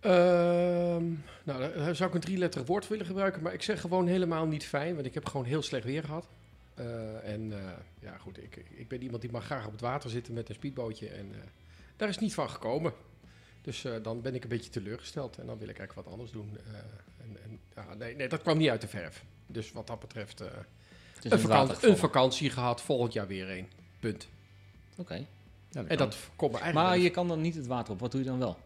Ehm, nou, daar zou ik een drieletterig woord voor willen gebruiken, maar ik zeg gewoon helemaal niet fijn, want ik heb gewoon heel slecht weer gehad. Eh, en eh, ja, goed, ik, ik ben iemand die mag graag op het water zitten met een speedbootje en eh, daar is niet van gekomen. Dus eh, dan ben ik een beetje teleurgesteld en dan wil ik eigenlijk wat anders doen. Eh, en, en, ja, nee, nee, dat kwam niet uit de verf. Dus wat dat betreft, eh, een, Het is in het vakan- water een gevallen. vakantie gehad, volgend jaar weer een. Punt. Oké. En dat komt me eigenlijk... Maar je kan dan niet het water op. Wat doe je dan wel?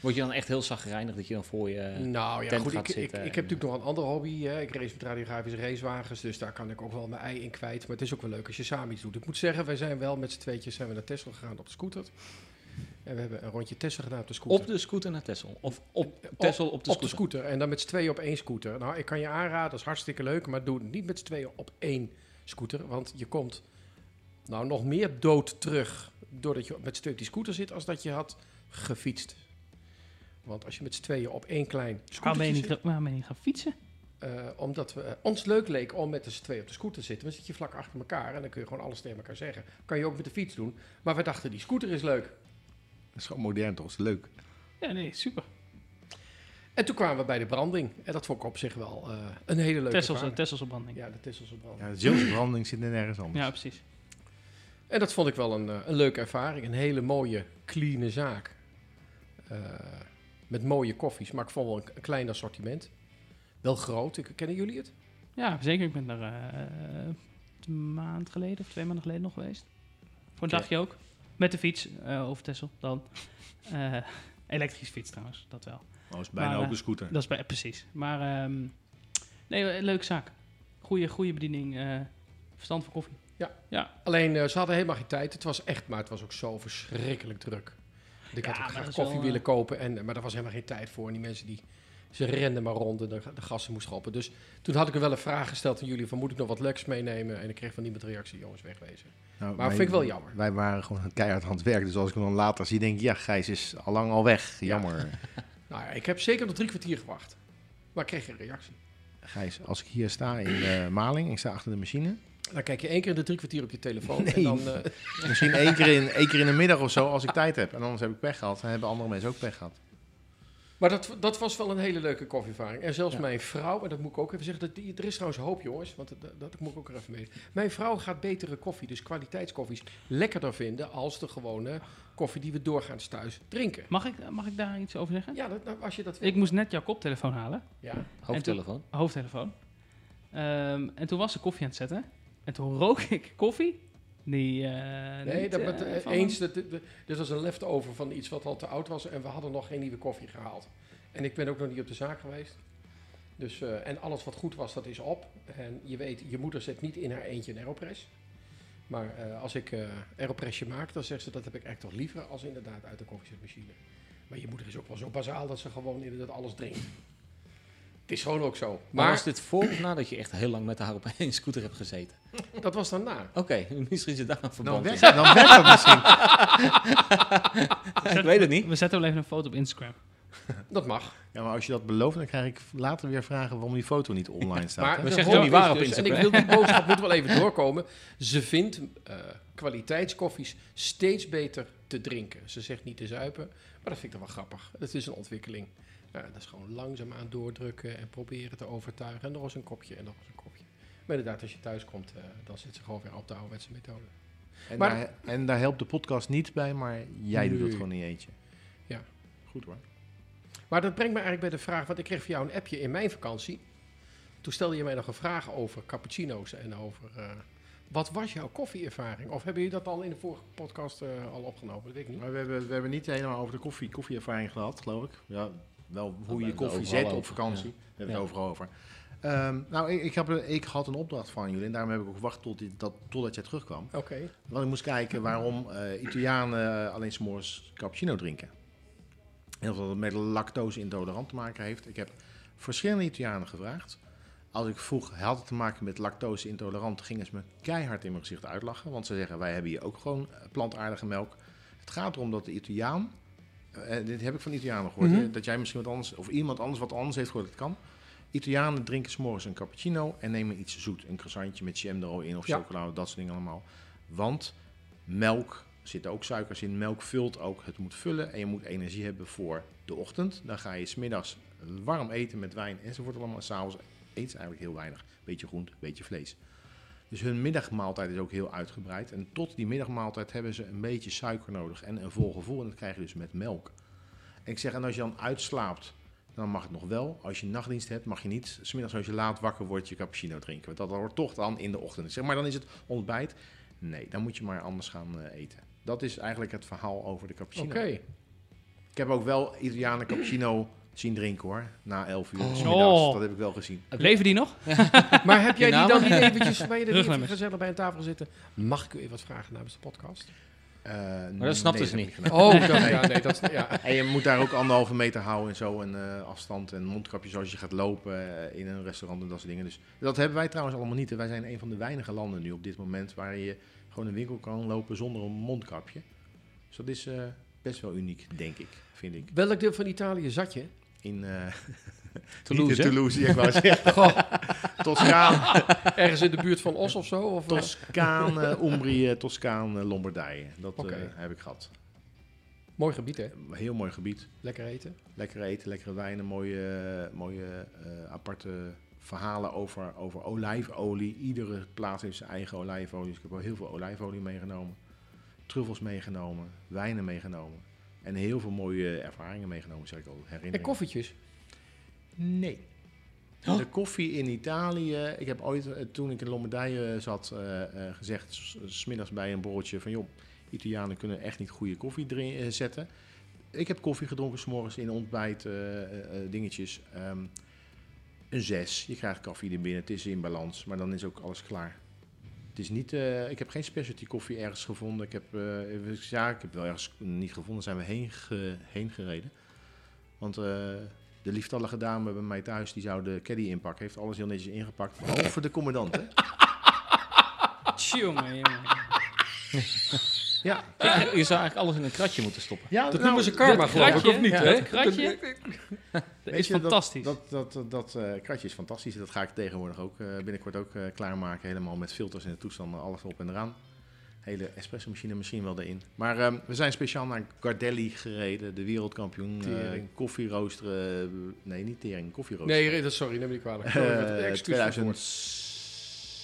Word je dan echt heel zagrijnig dat je dan voor je... Nou ja, Eh, tent goed, ik, gaat ik, ik zitten heb en- eh, natuurlijk nog een andere hobby. Hè. Ik race met radiografische racewagens, dus daar kan ik ook wel mijn ei in kwijt. Maar het is ook wel leuk als je samen iets doet. Ik moet zeggen, wij zijn wel met z'n tweetjes zijn we naar Tesla gegaan op de scooter. En we hebben een rondje Tesla gedaan op de scooter. Op de scooter naar Texel. Of op Texel op de Op de scooter. scooter. En dan met z'n tweeën op één scooter. Nou, ik kan je aanraden, dat is hartstikke leuk, maar doe het niet met z'n tweeën op één scooter. Want je komt nou nog meer dood terug doordat je met z'n tweeën op die scooter zit, als dat je had gefietst. Want als je met z'n tweeën op één klein Waarom ben, scooter je zit... niet, waarom ben je niet gaan fietsen? Eh, omdat we, eh, ons leuk leek om met z'n twee op de scooter te zitten. Dan zit je vlak achter elkaar en dan kun je gewoon alles tegen elkaar zeggen. Kan je ook met de fiets doen. Maar we dachten, die scooter is leuk. Dat is gewoon modern toch? Dat is leuk. Ja, nee, super. En toen kwamen we bij de branding. En dat vond ik op zich wel eh, een hele leuke Tessels, eh, ervaring. Tessels op branding. Ja. Ja, de Tesselse branding. Ja, de zilverbranding zit er nergens anders. precies. En dat vond ik wel een, eh, een leuke ervaring. Een hele mooie, clean zaak. Eh, met mooie koffies. Maar ik vond wel een, een klein assortiment. Wel groot. Ik- Kennen jullie het? Ja, zeker. Ik ben daar eh, een maand geleden of twee maanden geleden nog geweest. Voor een Oké. dagje ook. Met de fiets eh, over Tessel dan. Eh elektrische fiets trouwens, dat wel. Oh, is bijna Maar, ook eh, een scooter. Dat is bij, precies. Maar ehm, nee, een leuke zaak. Goeie, goede bediening. eh, verstand van koffie. Alleen, eh, ze hadden helemaal geen tijd. Het was echt, maar het was ook zo verschrikkelijk druk. Want Ik Ja, had ook maar graag dat is koffie wel, eh, willen kopen, en, maar daar was helemaal geen tijd voor. En die mensen die, ze renden maar rond en de, de gassen moesten schoppen. Dus toen had ik er wel een vraag gesteld aan jullie, van moet ik nog wat leuks meenemen? En ik kreeg van niemand reactie, jongens, wegwezen. Nou, maar wij- vind ik wel jammer. Wij waren gewoon een keihard aan het werk. Dus als ik hem dan later zie, denk ik, ja, Gijs is al lang al weg. Jammer. Nou ja, ik heb zeker nog drie kwartier gewacht. Maar ik kreeg geen reactie. Gijs, als ik hier sta in eh, Maling, ik sta achter de machine. Dan kijk je één keer in de drie kwartier op je telefoon. En Nee. dan, eh, Misschien één keer, in, één keer in de middag of zo, als ik tijd heb. En anders heb ik pech gehad. En hebben andere mensen ook pech gehad. Maar dat, dat was wel een hele leuke koffieervaring. En zelfs Ja. mijn vrouw, en dat moet ik ook even zeggen, dat, die- er is trouwens hoop jongens, want dat, dat moet ik ook er even mee. Mijn vrouw gaat betere koffie, dus kwaliteitskoffies, lekkerder vinden als de gewone koffie die we doorgaans thuis drinken. Mag ik, mag ik daar iets over zeggen? Ja, dat, nou, als je dat wil. Ik moest net jouw koptelefoon halen. Ja. Hoofdtelefoon. hoofdtelefoon. Ehm, en toen was ze koffie aan het zetten. En toen rook ik koffie. Die, eh, Nee, niet, dat eh, met, eh, van- eens. Dat, dit- dit- dit was een leftover van iets wat al te oud was en we hadden nog geen nieuwe koffie gehaald. En ik ben ook nog niet op de zaak geweest. Dus, eh, en alles wat goed was, dat is op. En je weet, je moeder zet niet in haar eentje een aeropress. Maar eh, als ik eh aeropressje maak, dan zegt ze dat heb ik echt toch liever als inderdaad uit de koffiezetmachine. Maar je moeder is ook wel zo bazaal dat ze gewoon inderdaad alles drinkt. Het is gewoon ook zo. Maar Maar was dit voor of nadat je echt heel lang met haar op één scooter hebt gezeten? dat was daarna. Oké, misschien zit daar een Dan verband werkt, in. dan werkt dat misschien. Ik weet het niet. We zetten wel even een foto op Instagram. Dat mag. Ja, maar als je dat belooft, dan krijg ik later weer vragen waarom die foto niet online staat. Maar we de zeggen hoop niet waar is op dus- Instagram. En ik wil die boodschap moet wel even doorkomen. Ze vindt eh, kwaliteitskoffies steeds beter te drinken. Ze zegt niet te zuipen, maar dat vind ik dan wel grappig. Dat is een ontwikkeling. Nou, dat is gewoon langzaamaan doordrukken en proberen te overtuigen. En nog eens een kopje en nog eens een kopje. Maar inderdaad, als je thuis komt, eh, dan zit ze gewoon weer op de ouderwetse methode. En, Maar- daar, en daar helpt de podcast niet bij, maar jij doet Nee. dat gewoon in je eentje. Ja. Goed hoor. Maar dat brengt me eigenlijk bij de vraag, want ik kreeg van jou een appje in mijn vakantie. Toen stelde je mij nog een vraag over cappuccino's en over... eh, wat was jouw koffieervaring? Of hebben jullie dat al in de vorige podcast eh, al opgenomen? Dat weet ik niet. Maar we hebben, we hebben niet helemaal over de koffie, koffieervaring gehad, geloof ik. Ja, wel hoe je hebben we koffie overal zet op over, vakantie. ja. We hebben Ja. het overal over. Ehm, nou, ik, ik, heb, ik had een opdracht van jullie en daarom heb ik ook gewacht tot dit, dat, totdat jij terugkwam. Oké. Want ik moest kijken waarom eh, Italianen alleen s'morgens cappuccino drinken. Heel veel dat met lactose intolerant te maken heeft. Ik heb verschillende Italianen gevraagd. Als ik vroeg, had het te maken met lactose intolerant, gingen ze me keihard in mijn gezicht uitlachen. Want ze zeggen, wij hebben hier ook gewoon eh, plantaardige melk. Het gaat erom dat de Italiaan, eh, dit heb ik van Italianen gehoord, Mhm. hè, dat jij misschien wat anders, of iemand anders wat anders heeft gehoord, dat kan. Italianen drinken s'morgens een cappuccino en nemen iets zoet. Een croissantje met jam er al in of Ja. chocolade, dat soort dingen allemaal. Want melk zit ook suikers in. Melk vult ook. Het moet vullen en je moet energie hebben voor de ochtend. Dan ga je smiddags warm eten met wijn enzovoort allemaal. En s'avonds eet ze eigenlijk heel weinig. Beetje groente, beetje vlees. Dus hun middagmaaltijd is ook heel uitgebreid. En tot die middagmaaltijd hebben ze een beetje suiker nodig en een vol gevoel. En dat krijg je dus met melk. En ik zeg, en als je dan uitslaapt, dan mag het nog wel. Als je nachtdienst hebt, mag je niet. Smiddags als je laat wakker wordt, je cappuccino drinken. Want dat hoort toch dan in de ochtend. Ik zeg, maar dan is het ontbijt. Nee, dan moet je maar anders gaan eh, eten. Dat is eigenlijk het verhaal over de cappuccino. Oké. Ik heb ook wel Italianen cappuccino zien drinken hoor. Na 11 uur. Oh. 's middags. Dat heb ik wel gezien. Leven die nog? Maar heb jij Je die naam? dan niet eventjes bij de Rugnummer. gezellig bij een tafel zitten? Mag ik u even wat vragen namens de podcast? Eh, Maar dat snapten nee, ze heb niet. ik gedaan. Oh, dat, ja, nee, dat, ja. En je moet daar ook anderhalve meter houden en zo. En eh, afstand en mondkapjes als je gaat lopen eh, in een restaurant en dat soort dingen. Dus dat hebben wij trouwens allemaal niet. En Wij zijn een van de weinige landen nu op dit moment waar je gewoon een winkel kan lopen zonder een mondkapje. Dus dat is eh, best wel uniek, denk ik. Vind ik. Welk deel van Italië zat je? In eh, niet Toulouse, in hè? Toulouse, die ik wou zeggen. Toscaan, Ergens in de buurt van Os of zo? Of, eh, Toscaan eh, Umbrië, Toscaan, eh, Lombardije. Dat eh, Oké. heb ik gehad. eh, mooi gebied, hè? Heel mooi gebied. Lekker eten. Lekker eten, lekkere wijnen, mooie, mooie eh, aparte verhalen over, over olijfolie. Iedere plaats heeft zijn eigen olijfolie. Dus ik heb wel heel veel olijfolie meegenomen. Truffels meegenomen, wijnen meegenomen. En heel veel mooie ervaringen meegenomen, zeg ik al. Herinneringen. En koffietjes. Nee. De koffie in Italië. Ik heb ooit, eh, toen ik in Lombardije zat, eh, eh, gezegd, s- s middags bij een broodje van joh, Italianen kunnen echt niet goede koffie drin- eh, zetten. Ik heb koffie gedronken s'morgens in ontbijt eh, eh, eh, dingetjes. Ehm, een zes. Je krijgt koffie er binnen. Het is in balans, maar dan is ook alles klaar. Het is niet, eh, ik heb geen specialty koffie ergens gevonden. Ik heb, eh, ja, ik heb wel ergens niet gevonden. Zijn we heen, ge- heen gereden. Want eh, de lieftallige dame bij mij thuis, die zou de caddy inpakken. Heeft alles heel netjes ingepakt. Behalve de commandant, hè? Tjonge, jonge. Ja, Je zou eigenlijk alles in een kratje moeten stoppen. ja Dat noemen Nou, ze karma, geloof ik, kratje, of niet? ja, hè? dat kratje. Dat Weet is je, dat- fantastisch. Dat, dat, dat, dat eh, kratje is fantastisch. Dat ga ik tegenwoordig ook eh, binnenkort ook eh, klaarmaken. Helemaal met filters en de toestanden, alles op en eraan. Hele espresso machine misschien wel erin. Maar ehm, we zijn speciaal naar Gardelli gereden. De wereldkampioen eh Tering. koffieroosteren. eh, nee, niet tering, koffieroosteren. Nee, dat- sorry, neem me niet kwalijk. Sorry, Eh, dat- excuus voor het woord.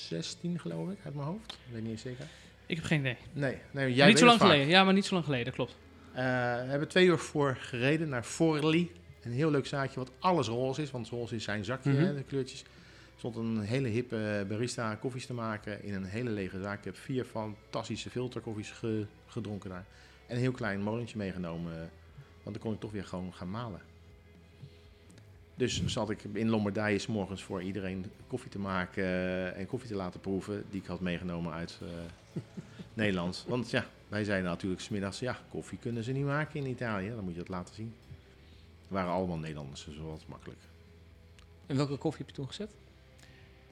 2016 geloof ik, uit mijn hoofd. Ik weet niet eens zeker. Ik heb geen idee. Nee, nee jij Maar niet zo weet lang het vaak. geleden. Ja, maar niet zo lang geleden, klopt. Eh, we hebben twee uur voor gereden naar Forli. Een heel leuk zaakje wat alles roze is, want roze is zijn zakje, Mhm. hè, de kleurtjes. Er stond een hele hippe barista koffies te maken in een hele lege zaak. Ik heb vier fantastische filterkoffies ge- gedronken daar. En een heel klein molentje meegenomen, eh, want dan kon ik toch weer gewoon gaan malen. Dus zat ik in Lombardije 's morgens voor iedereen koffie te maken eh, en koffie te laten proeven die ik had meegenomen uit eh, Nederland. Want ja, wij zeiden natuurlijk smiddags, ja, koffie kunnen ze niet maken in Italië. Dan moet je dat laten zien. Het waren allemaal Nederlanders, dus wel wat makkelijk. En welke koffie heb je toen gezet?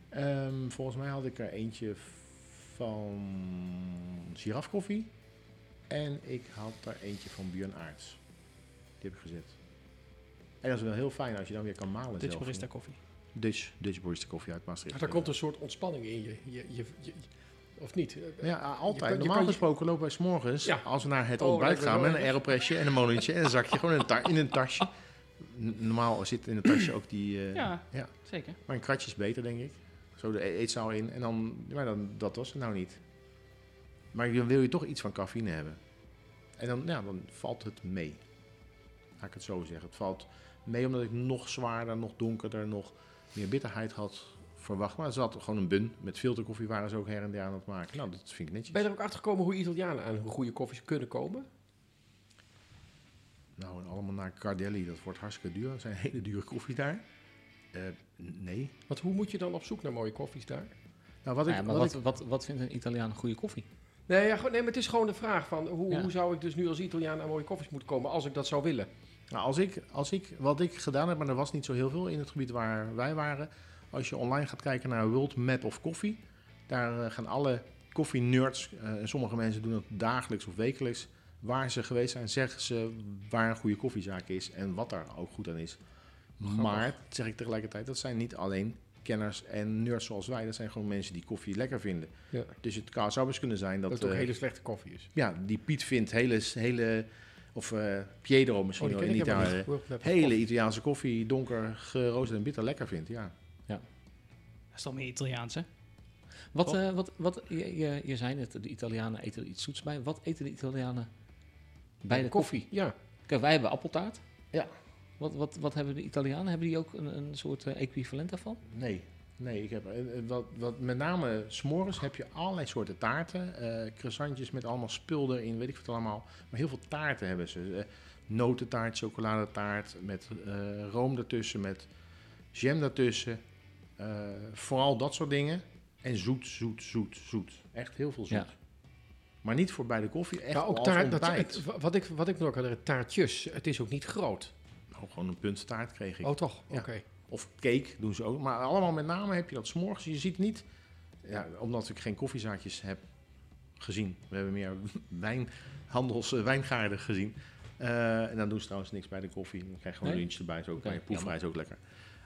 Ehm, volgens mij had ik er eentje van girafkoffie. En ik had er eentje van Björn Aarts. Die heb ik gezet. En dat is wel heel fijn als je dan weer kan malen Dutch zelf. Barista Koffie. Dutch, Dutch Barista Koffie uit Maastricht. Maar daar komt een soort ontspanning in je. je, je, je- of niet? Ja, ah, altijd. Je kan- je Normaal kan je- gesproken lopen wij s'morgens, Ja. als we naar het Oh, ontbijt lijkt me gaan, wel met een erg. aeropressje en een molentje en een zakje, gewoon in een, ta- in een tasje. N- Normaal zit in een tasje ook die... eh, Ja. ja. Zeker. Maar een kratje is beter, denk ik. Zo de e- eetzaal in. En dan, maar dan, dat was het nou niet. Maar dan wil je toch iets van cafeïne hebben. En dan, ja, dan valt het mee. Laat ik het zo zeggen. Het valt mee omdat ik nog zwaarder, nog donkerder, nog meer bitterheid had verwacht. Maar er zat gewoon een bun. Met filterkoffie waren ze ook her en der aan het maken. Nou, dat vind ik netjes. Ben je er ook achter gekomen hoe Italianen aan hun goede koffies kunnen komen? Nou, en allemaal naar Cardelli. Dat wordt hartstikke duur. Dat zijn hele dure koffie daar. Eh, n- nee. Want hoe moet je dan op zoek naar mooie koffies daar? Nou, wat ik, ja, maar wat wat, ik- wat, wat, vindt een Italiaan een goede koffie? Nee, ja, gewoon- nee, maar het is gewoon de vraag van hoe, Ja. hoe zou ik dus nu als Italiaan aan mooie koffies moeten komen als ik dat zou willen? Nou, als ik, als ik, wat ik gedaan heb, maar er was niet zo heel veel in het gebied waar wij waren. Als je online gaat kijken naar World Map of Coffee, daar eh, gaan alle koffie-nerds, eh, en sommige mensen doen dat dagelijks of wekelijks, waar ze geweest zijn, zeggen ze waar een goede koffiezaak is en wat daar ook goed aan is. Maar, zeg ik tegelijkertijd, dat zijn niet alleen kenners en nerds zoals wij. Dat zijn gewoon mensen die koffie lekker vinden. Ja. Dus het kan- zou best kunnen zijn dat... Dat, het ook eh, hele slechte koffie is. ja, die Piet vindt hele... hele of eh, Piedro Oh, misschien wel in eh, helemaal Italië. niet. World Oh, Map of Hele Coffee. Italiaanse koffie, donker, geroosterd en bitter lekker vindt, ja. Dat is dan meer Italiaans, hè? Wat, Toch? eh, wat, wat, je, je, je zei net, de Italianen eten er iets zoets bij. Wat eten de Italianen bij de koffie? Ja, Kijk, wij hebben appeltaart. Ja. Wat, wat, wat hebben de Italianen? Hebben die ook een, een soort eh, equivalent daarvan? Nee, nee. Ik heb, eh, eh, wat, wat, met name s'morgens heb je allerlei soorten taarten. eh croissantjes met allemaal spul erin, weet ik wat allemaal. Maar heel veel taarten hebben ze. Eh, notentaart, chocoladetaart, met eh, room ertussen, met jam ertussen. Eh, vooral dat soort dingen. En zoet, zoet, zoet, zoet. Echt heel veel zoet. Ja. Maar niet voor bij de koffie, echt ja Nou, ook als taart. Dat, ontbijt. het- wat ik, wat ik nog kan herinneren, taartjes. Het is ook niet groot. Nou, gewoon een punt taart kreeg ik. Oh, toch? Ja. Oké. Of cake doen ze ook. Maar allemaal met name heb je dat s'morgens. Je ziet niet, ja, omdat ik geen koffiezaakjes heb gezien. We hebben meer wijnhandels, eh, wijngaarden gezien. Eh, en dan doen ze trouwens niks bij de koffie. Dan krijg je gewoon Nee? lunch erbij. Is ook, Oké, bij proeverij is ook lekker.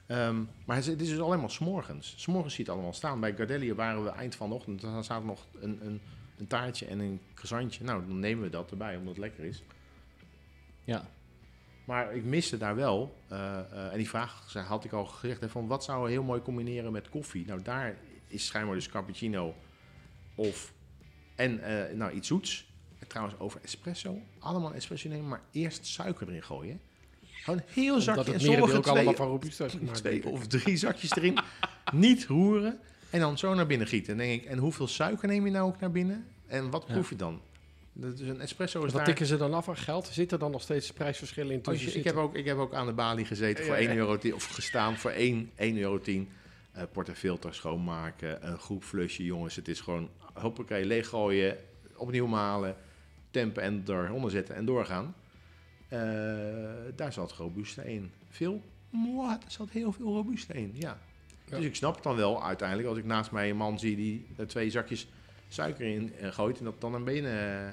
Ehm, maar het is- het is dus allemaal s'morgens. S'morgens ziet het allemaal staan. Bij Gardelli waren we eind van de ochtend. Dan staat er nog een, een, een taartje en een croissantje. Nou, dan nemen we dat erbij, omdat het lekker is. Ja. Maar ik miste daar wel, eh, eh, en die vraag ze- had ik al gezegd, hè, van wat zou heel mooi combineren met koffie? Nou, daar is schijnbaar dus cappuccino of en eh, nou, iets zoets. En trouwens, over espresso, allemaal espresso nemen, maar eerst suiker erin gooien. Gewoon een heel Dat zakje, en het merendeel sommige ook allemaal twee, van Robusta is gemaakt. twee of drie zakjes erin, niet roeren en dan zo naar binnen gieten. En dan denk ik, en hoeveel suiker neem je nou ook naar binnen? En wat Ja. proef je dan? Dat is een espresso is Wat daar... tikken ze dan af aan geld? Zit er dan nog steeds prijsverschillen in Als tussen? je- ik, heb ook, ik heb ook aan de balie gezeten voor Ja, ja. 1 euro, of gestaan voor 1, 1 euro 10. Eh portafilter schoonmaken, een groep flusje, jongens. Het is gewoon, hoppakee, leeggooien, opnieuw malen, tempen en eronder zetten en doorgaan. Eh, daar zat robuuste in. Veel? Mwah, daar zat heel veel robuuste in, ja. Ja. Dus ik snap het dan wel uiteindelijk als ik naast mij een man zie die er twee zakjes suiker in eh, gooit en dat dan aan benen eh,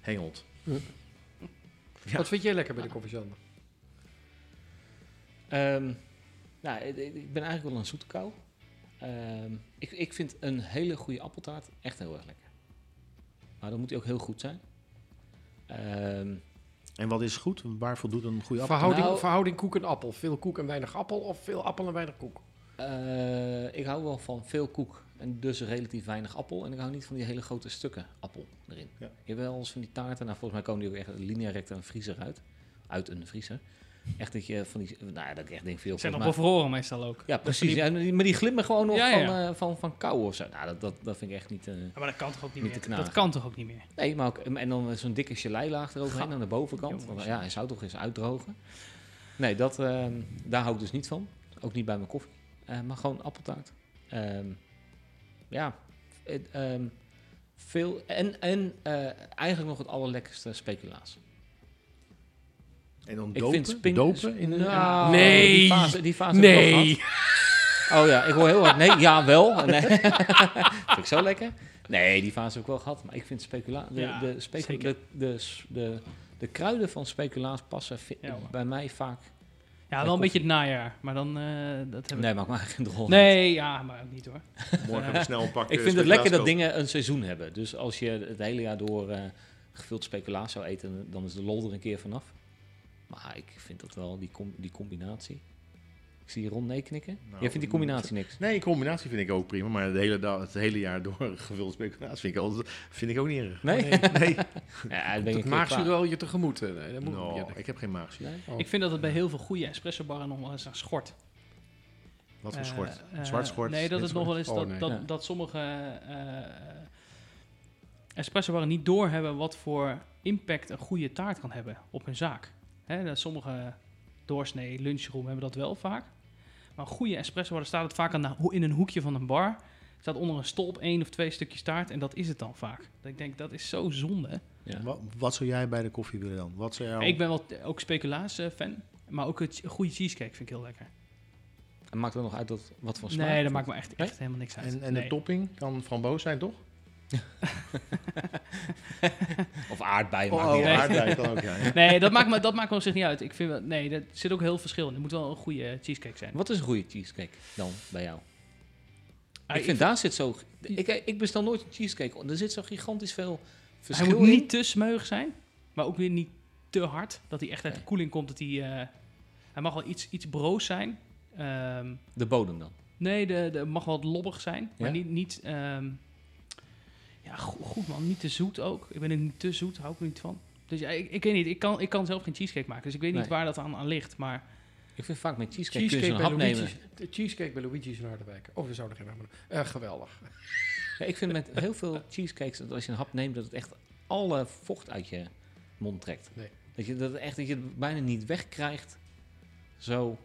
hengelt. Ja. Wat vind jij lekker bij de koffie, Sander? Ehm, nou, ik- ik ik ben eigenlijk wel een zoete kou. Ehm, ik, ik vind een hele goede appeltaart echt heel erg lekker. Maar dan moet die ook heel goed zijn. Ehm, En wat is goed? Waar voldoet een goede appel? Verhouding, Nou- verhouding koek en appel. Veel koek en weinig appel of veel appel en weinig koek? eh, ik hou wel van veel koek en dus relatief weinig appel. En ik hou niet van die hele grote stukken appel erin. Ja. Je hebt wel eens van die taarten, nou volgens mij komen die ook echt lineair uit een vriezer uit. Uit een vriezer. Echt dat je van die, nou ja, dat ik echt denk veel. Ze zijn nog volgens mij- bevroren meestal ook. Ja, precies. Ja, maar die- maar die glimmen gewoon nog Ja, ja. Van, eh, van, van kou of zo. Nou, dat, dat, dat vind ik echt niet... eh, Ja, maar dat kan toch ook niet, Niet te meer? knagen. Dat kan toch ook niet meer? Nee, maar ook, en dan eh, zo'n dikke geleilaag eroverheen aan de bovenkant. Jongens. Want, ja, hij zou toch eens uitdrogen. Nee, dat, ehm, daar hou ik dus niet van. Ook niet bij mijn koffie. Eh, maar gewoon appeltaart. Ehm, ja, het, ehm, veel. En, en eh, eigenlijk nog het allerlekkerste speculaas. En dan Ik dopen, vind spin- dopen in de... Nou, Nee. Die fase, die fase heb ik al gehad. Oh ja, ik hoor heel hard. Nee, ja, wel. Nee. Vind ik zo lekker. Nee, die fase heb ik wel gehad. Maar ik vind specula de, Ja, de, specu- zeker. de, de, s- de, de kruiden van speculaas passen vi- Ja, hoor. bij mij vaak. Ja, wel een koffie. beetje het najaar. Maar dan... eh dat hebben Nee, maakt me eigenlijk geen rol. uit. nee, ja, maar ook niet hoor. Morgen even snel een pak, Ik eh, vind het lekker dat speculaas dingen een seizoen hebben. Dus als je het hele jaar door eh, gevuld speculaas zou eten, dan is de lol er een keer vanaf. Maar ik vind dat wel, die, com- die combinatie. Ik zie Ron nee knikken. Nou, Jij vindt die combinatie niks? kopen. Nee, combinatie vind ik ook prima. Maar het hele, da- het hele jaar door gevulde speculatie vind ik, altijd, vind ik ook niet erg. Nee? Nee. Nee, Ja, dan ben Het ik een keer maagzuur klaar. wel je tegemoet. eh, Nee, dat moet No, ja, Nou, ik heb geen maagzuur. Nee? Oh. Ik vind dat het bij heel veel goede espressobarren nog wel eens aan schort. Wat voor Eh, schort? eh, Zwart schort? Nee, dat wit het nog wel eens Oh, dat, nee. dat, Ja. dat sommige eh espressobarren niet doorhebben wat voor impact een goede taart kan hebben op hun zaak. Hè, dat sommige doorsnee lunchroom hebben dat wel vaak. Maar een goede espressobarren staat het vaak aan de ho- in een hoekje van een bar. Staat onder een stolp één of twee stukjes taart en dat is het dan vaak. Dat ik denk, dat is zo zonde. Ja. Wat, wat zou jij bij de koffie willen dan? Wat zou Oh. jou... Ik ben wel t- ook speculaas-fan, maar ook het goede cheesecake vind ik heel lekker. En maakt het nog uit dat, wat voor smaak? Nee, dat maakt me echt, Nee? echt helemaal niks uit. En, en nee. de topping kan framboos zijn, toch? Of aardbeien. Oh, maakt niet oh, uit. aardbei kan ook, ja. ja. Nee, dat maakt, me, dat maakt me op zich niet uit. Ik vind wel, nee, dat zit ook heel verschil in. Er moet wel een goede eh, cheesecake zijn. Wat is een goede cheesecake dan bij jou? Ah, ik vind daar zit zo. Ik, eh, ik bestel nooit een cheesecake. Er zit zo gigantisch veel verschil hij moet in. niet te smeug zijn, maar ook weer niet te hard. Dat hij echt uit de Nee. koeling komt. Dat hij, eh, hij mag wel iets, iets broos zijn. Ehm, De bodem dan. nee, de, de mag wel wat lobbig zijn, maar Ja? niet... niet ehm, ja, go- goed man. Niet te zoet ook. Ik ben ook niet te zoet, hou ik er niet van. Dus ja, ik, ik weet niet, ik kan, ik kan zelf geen cheesecake maken. Dus ik weet niet Nee. waar dat aan, aan ligt. Maar Ik vind vaak met cheesecake, Cheesecake, kun je zo'n hap bij nemen. Luigi's, de cheesecake bij Luigi's in Harderwijk. Oh, we zouden geen naam noemen. Eh, geweldig. Ja, ik vind met heel veel cheesecakes dat als je een hap neemt, dat het echt alle vocht uit je mond trekt. Nee. Dat je dat, echt, dat je het bijna niet wegkrijgt. Zo.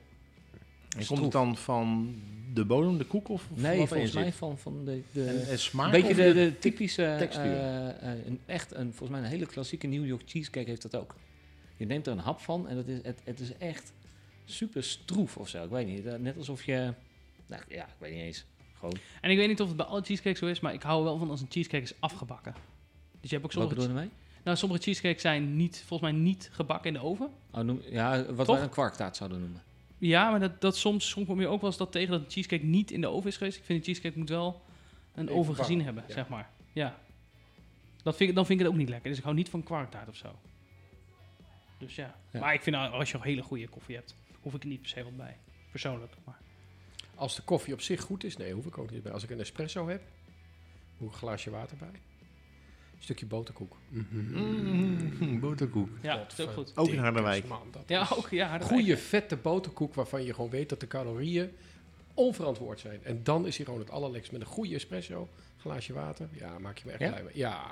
En komt het dan van de bodem, de koek of of Nee, wat volgens erin mij zit? van, van de. de En, en smaak? een beetje of de, de typische. textuur? eh, eh, een, echt een, volgens mij een hele klassieke New York cheesecake heeft dat ook. Je neemt er een hap van en dat is, het, het is echt super stroef of zo. Ik weet niet. eh, Net alsof je. Nou ja, ik weet niet eens. Gewoon. En ik weet niet of het bij alle cheesecakes zo is, maar ik hou wel van als een cheesecake is afgebakken. Dus je hebt ook Wat sommige, bedoel je ermee? nou, sommige cheesecakes zijn niet, volgens mij niet gebakken in de oven. Oh, noem, ja, wat Toch? wij een kwarktaart zouden noemen. Ja, maar dat, dat soms, soms kom je ook wel eens dat tegen dat een cheesecake niet in de oven is geweest. Ik vind een cheesecake moet wel een Even oven gezien bakken, hebben, ja. zeg maar. Ja. Dat vind ik, dan vind ik het ook niet lekker. Dus ik hou niet van kwarktaart of zo. Dus ja. Ja. Maar ik vind nou, als je een hele goede koffie hebt, hoef ik er niet per se wat bij. Persoonlijk. Maar. Als de koffie op zich goed is, nee, hoef ik ook niet bij. Als ik een espresso heb, doe ik een glaasje water bij. Een stukje boterkoek. Mm, boterkoek. Ja, Dat dat is ook goed. Ook in Harderwijk. Man, dat Ja, is ook. Ja, dat- Goede vette boterkoek waarvan je gewoon weet dat de calorieën onverantwoord zijn. En dan is hij gewoon het allerlekst met een goede espresso, glaasje water. Ja, maak je me echt Ja? blij mee. Ja,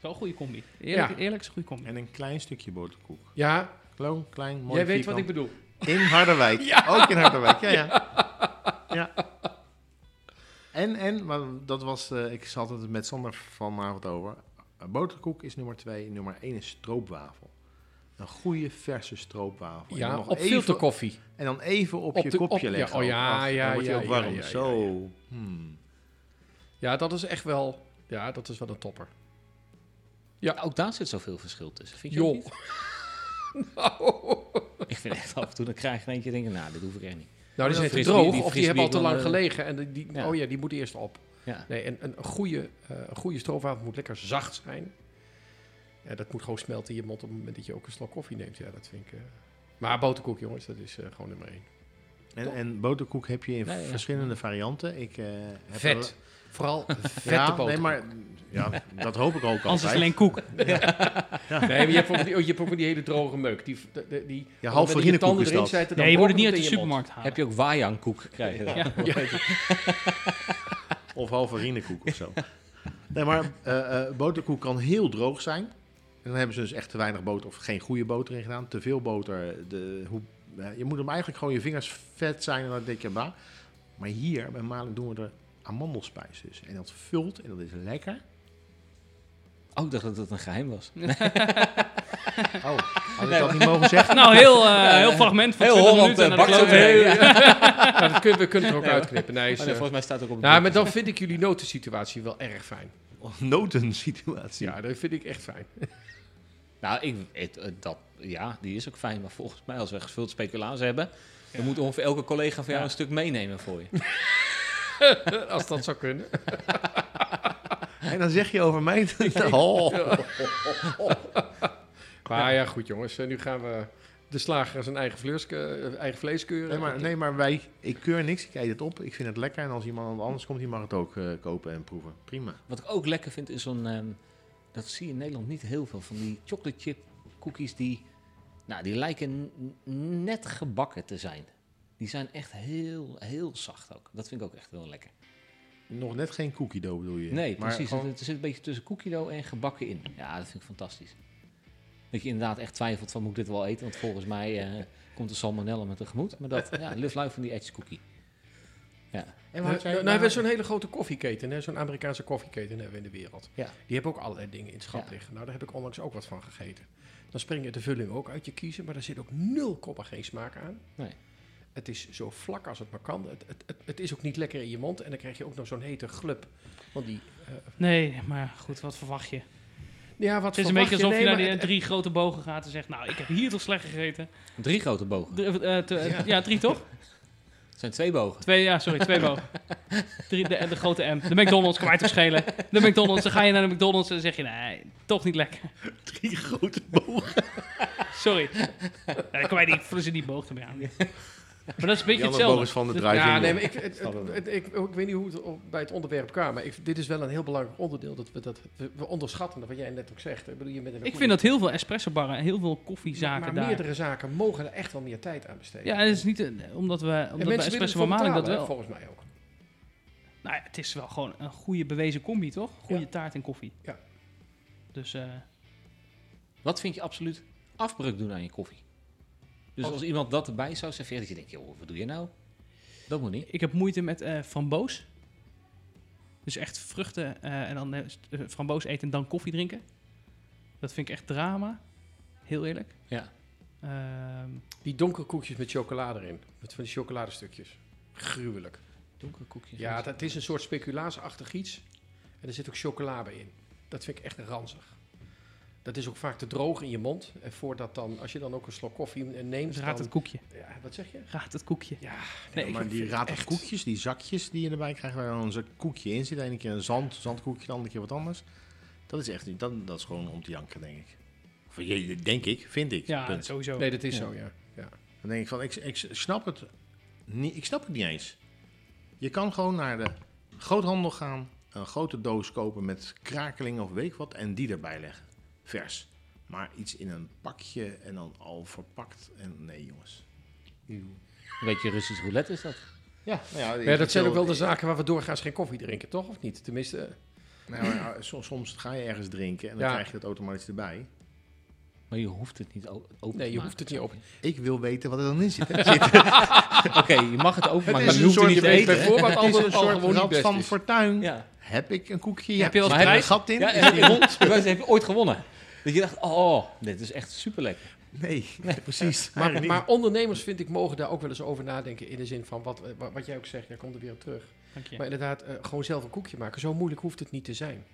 Wel een goede combi. Eerlijk, Ja. eerlijk is een goede combi. En een klein stukje boterkoek. ja Kloon, klein, mooi jij weet wat ik vierkant. bedoel. In Harderwijk. Ook in Harderwijk, ja, ja. ja. En, en, maar dat was, eh, ik zat het met Sander vanavond over. Eh, Boterkoek is nummer twee, nummer één is stroopwafel. Een goede verse stroopwafel. En Ja, dan nog op filterkoffie. En dan even op Op je de- op- kopje ja, leggen. oh ja, Ach, ja, Dan wordt je ja, ook ja, warm. ja, ja, Zo. ja. Hmm. Ja, dat is echt wel, ja, dat is wel een topper. Ja. Ook daar zit zoveel verschil tussen. Vind je ook Joh. Nou, niet? Ik vind echt af en toe, dan krijg je in eentje denken, nou, dit hoef ik echt niet. Nou, die zijn te frisbee- droog die of die frisbee hebben al te van, lang eh, gelegen. En die, die- ja. Oh ja, die moet eerst op. Ja. Nee, en een, een goede, eh een goede stroopwafel moet lekker zacht zijn. Ja, dat moet gewoon smelten in je mond op het moment dat je ook een slok koffie neemt. Ja, dat vind ik... eh, maar boterkoek, jongens, dat is eh, gewoon nummer één. En, en boterkoek heb je in Nee, ja. verschillende varianten. Ik, eh, heb er- Vet. Vooral vette Ja, boterkoek. nee, maar ja, dat hoop ik ook altijd. Anders is het alleen koek. Nee, maar je hebt ook die, oh, je hebt ook van die hele droge meuk. Die, die, die, die Ja, half met je varinekoek tanden is erin dat. zetten, dan Nee, je wordt het niet uit brokkelt de het in je mond. supermarkt halen. Heb je ook waaiangkoek gekregen? dan? Ja. Of halve rienenkoek of zo. Nee, maar eh, eh, boterkoek kan heel droog zijn. En dan hebben ze dus echt te weinig boter of geen goede boter in gedaan. Te veel boter. De, hoe, eh, je moet hem eigenlijk gewoon je vingers vet zijn en dan denk je, bah. Maar hier bij Maling doen we er amandelspijs dus. En dat vult en dat is lekker. Oh, ik dacht dat het een geheim was. Oh, had ik dat niet mogen zeggen? Nou, heel, eh, heel fragment van Heel 20 Holland, minuten. eh, en dan bakt klopt het. zo Ja, Nou, dat kunnen, we kunnen het er ook uitknippen. Nee, is, Maar eh, volgens mij staat ook op de nou, maar dan vind ik jullie notensituatie wel erg fijn. Notensituatie. Ja, dat vind ik echt fijn. Nou, ik, het- het- dat, ja, die is ook fijn. Maar volgens mij, als we gevuld speculaas hebben, dan moet ongeveer elke collega van jou Ja. een stuk meenemen voor je. Als dat zou kunnen. En dan zeg je over mij... Oh. Maar ja, goed jongens. eh, Nu gaan we de slager zijn eigen, vlees- eh, eigen vlees keuren. Nee, maar, nee, maar wij, ik keur niks. Ik eet het op. Ik vind het lekker. En als iemand anders komt, die mag het ook eh, kopen en proeven. Prima. Wat ik ook lekker vind, is zo'n... ehm, dat zie je in Nederland niet heel veel. Van die chocolate chip cookies die... Nou, die lijken n- net gebakken te zijn. Die zijn echt heel, heel zacht ook. Dat vind ik ook echt heel lekker. Nog net geen cookie dough bedoel je? Nee, Maar precies. gewoon- Het, het zit een beetje tussen cookie dough en gebakken in. Ja, dat vind ik fantastisch. Dat je inderdaad echt twijfelt van moet ik dit wel eten? Want volgens mij eh, komt de salmonella me tegemoet. Maar dat, ja, luf lui van die edge cookie. Ja. En Nou, had nou, jij nou daar- hebben we zo'n hele grote koffieketen, hè, zo'n Amerikaanse koffieketen hebben we in de wereld. Ja. Die hebben ook allerlei dingen in het schap Ja. liggen. Nou, daar heb ik onlangs ook wat van gegeten. Dan spring je de vulling ook uit je kiezen, maar er zit ook nul koppen geen smaak aan. Nee. Het is zo vlak als het maar kan. Het, het, het, het is ook niet lekker in je mond en dan krijg je ook nog zo'n hete glub. Want die, eh, Nee, maar goed, wat verwacht je? ja, wat Het is een beetje verwacht alsof je naar Nee, die eh, maar het- drie grote bogen gaat en zegt... Nou, ik heb hier toch slecht gegeten? Drie grote bogen. Drie- eh, te- eh, ja. drie toch? Het zijn twee bogen. Twee, ja, sorry, twee bogen. Drie, de, de grote M. De McDonald's, kan mij toch schelen. De McDonald's, dan ga je naar de McDonald's en dan zeg je... Nee, toch niet lekker. drie grote bogen. Sorry. Ja, dan kan mij die, voelen ze die boog ermee aan. Maar dat is een beetje Die andere hetzelfde. boog is van de Dat- drijving. Ja, Hij nee, ging maar ik, door. het- Snap ik het- wel. het- ik, ik weet niet hoe het op- bij het onderwerp kwam, maar ik, dit is wel een heel belangrijk onderdeel. Dat we, dat, we, we onderschatten dat wat jij net ook zegt. Ik, bedoel, je bent een Ik goede- vind dat heel veel espressobarren en heel veel koffiezaken maar, maar daar... meerdere zaken mogen er echt wel meer tijd aan besteden. Ja, en het is niet eh, omdat we... en Omdat bij mensen willen espresso ervoor van Maling dat betalen, wel... hè, volgens mij ook. Nou ja, het is wel gewoon een goede bewezen combi, toch? Goede taart en koffie. Ja. Dus eh, Wat vind je absoluut afbreuk doen aan je koffie? Dus Als- als iemand dat erbij zou serveren, dat je denkt, joh, wat doe je nou? Dat moet niet. ik heb moeite met eh framboos. Dus echt vruchten eh, en dan eh, st- eh, framboos eten en dan koffie drinken. Dat vind ik echt drama. Heel eerlijk. Ja. Ehm, Die donkere koekjes met chocolade erin. Met van die chocoladestukjes. Gruwelijk. Donkere koekjes. Ja, dat is een soort speculaasachtig iets. En er zit ook chocola bij in. Dat vind ik echt ranzig. Dat is ook vaak te droog in je mond. En voordat dan, als je dan ook een slok koffie eh, neemt. dus raad het dan, koekje. ja, wat zeg je? Raad het koekje. Ja, nee, ik maar die vind- raad echt- koekjes, die zakjes die je erbij krijgt, waar dan zo'n koekje in zit. De ene keer een zand, zandkoekje, de andere keer wat anders. Dat is echt niet, dat, dat is gewoon om te janken, denk ik. Of, je- denk ik, vind ik. ja, Punt. sowieso. Nee, dat is Ja. zo, ja. ja. Dan denk ik van, ik, ik snap het niet, ik snap het niet eens. Je kan gewoon naar de groothandel gaan, een grote doos kopen met krakeling of weet ik wat en die erbij leggen. Vers. Maar iets in een pakje en dan al verpakt. En nee, jongens. Een beetje Russisch roulette is dat. Ja, nou ja, Maar ja, eh, ik dat zijn wil- ook wel de zaken waar we doorgaans geen koffie drinken, toch? Of niet? Tenminste, eh, Nou, ja, so- soms ga je ergens drinken en dan Ja. krijg je dat automatisch erbij. Maar je hoeft het niet o- open nee, te je maken. hoeft het niet op. Ik wil weten wat er dan in zit. Oké, je mag het openmaken, is maar je een hoeft het soort- niet te je weet eten. het. Het is Bijvoorbeeld altijd een al soort gewoon niet rad best van is. fortuin. Ja. Heb ik een koekje? Heb je wel zit eens er een prijs? gat in? Ja, Is en die heb rond? je- maar ze hebben ooit gewonnen. Dat je dacht, oh, dit is echt super lekker. Nee, precies. Maar, maar ondernemers, vind ik, mogen daar ook wel eens over nadenken. In de zin van wat, eh, wa- wat jij ook zegt, daar komt er weer op terug. Dank je. Maar inderdaad, eh, gewoon zelf een koekje maken. Zo moeilijk hoeft het niet te zijn.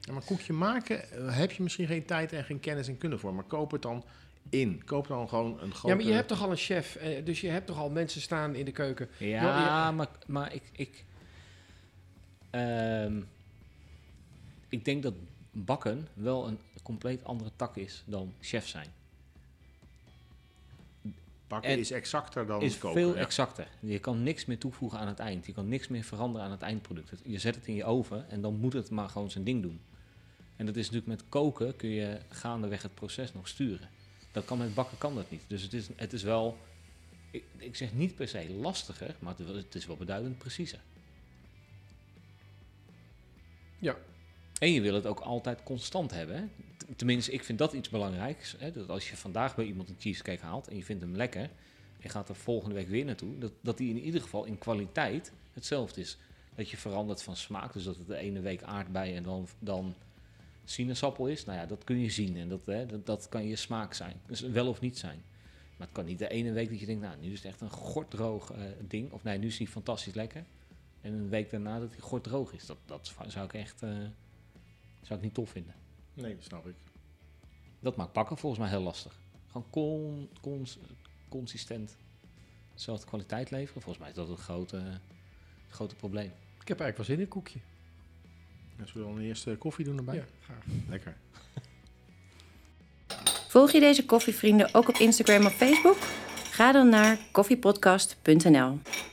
Ja, maar koekje maken eh, heb je misschien geen tijd en geen kennis en kunde voor. Maar koop het dan in. Koop dan gewoon een grote... Ja, maar je hebt toch al een chef, eh, dus je hebt toch al mensen staan in de keuken. Ja, Ja, maar, maar ik... Ik, ehm, ik denk dat bakken wel een compleet andere tak is dan chef zijn. Bakken en- is exacter dan is koken. veel ja. exacter. Je kan niks meer toevoegen aan het eind. Je kan niks meer veranderen aan het eindproduct. Het- Je zet het in je oven en dan moet het maar gewoon zijn ding doen. En dat is natuurlijk met koken kun je gaandeweg het proces nog sturen. Dat kan met bakken kan dat niet. Dus het is, het is wel, ik, ik zeg niet per se lastiger, maar het, het is wel beduidend preciezer. Ja. En je wil het ook altijd constant hebben. hè. T- Tenminste, ik vind dat iets belangrijks. Hè? Dat als je vandaag bij iemand een cheesecake haalt en je vindt hem lekker, je gaat er volgende week weer naartoe, dat, dat die in ieder geval in kwaliteit hetzelfde is. Dat je verandert van smaak, dus dat het de ene week aardbei en dan, dan sinaasappel is. Nou ja, dat kun je zien en dat, hè, dat, dat kan je smaak zijn. Dus wel of niet zijn. Maar het kan niet de ene week dat je denkt, nou nu is het echt een gorddroog eh, ding. Of nee, nu is die fantastisch lekker. En een week daarna dat hij gorddroog is. Dat, dat zou ik echt eh, zou ik niet tof vinden. Nee, dat snap ik. Dat maakt pakken volgens mij heel lastig. Gewoon con, cons- consistent dezelfde kwaliteit leveren. Volgens mij is dat het grote, grote probleem. Ik heb eigenlijk wel zin in een koekje. Ja, Zullen we dan eerst eh, koffie doen erbij? Ja, graag. Lekker. Volg je deze koffievrienden ook op Instagram of Facebook? Ga dan naar koffiepodcast.nl.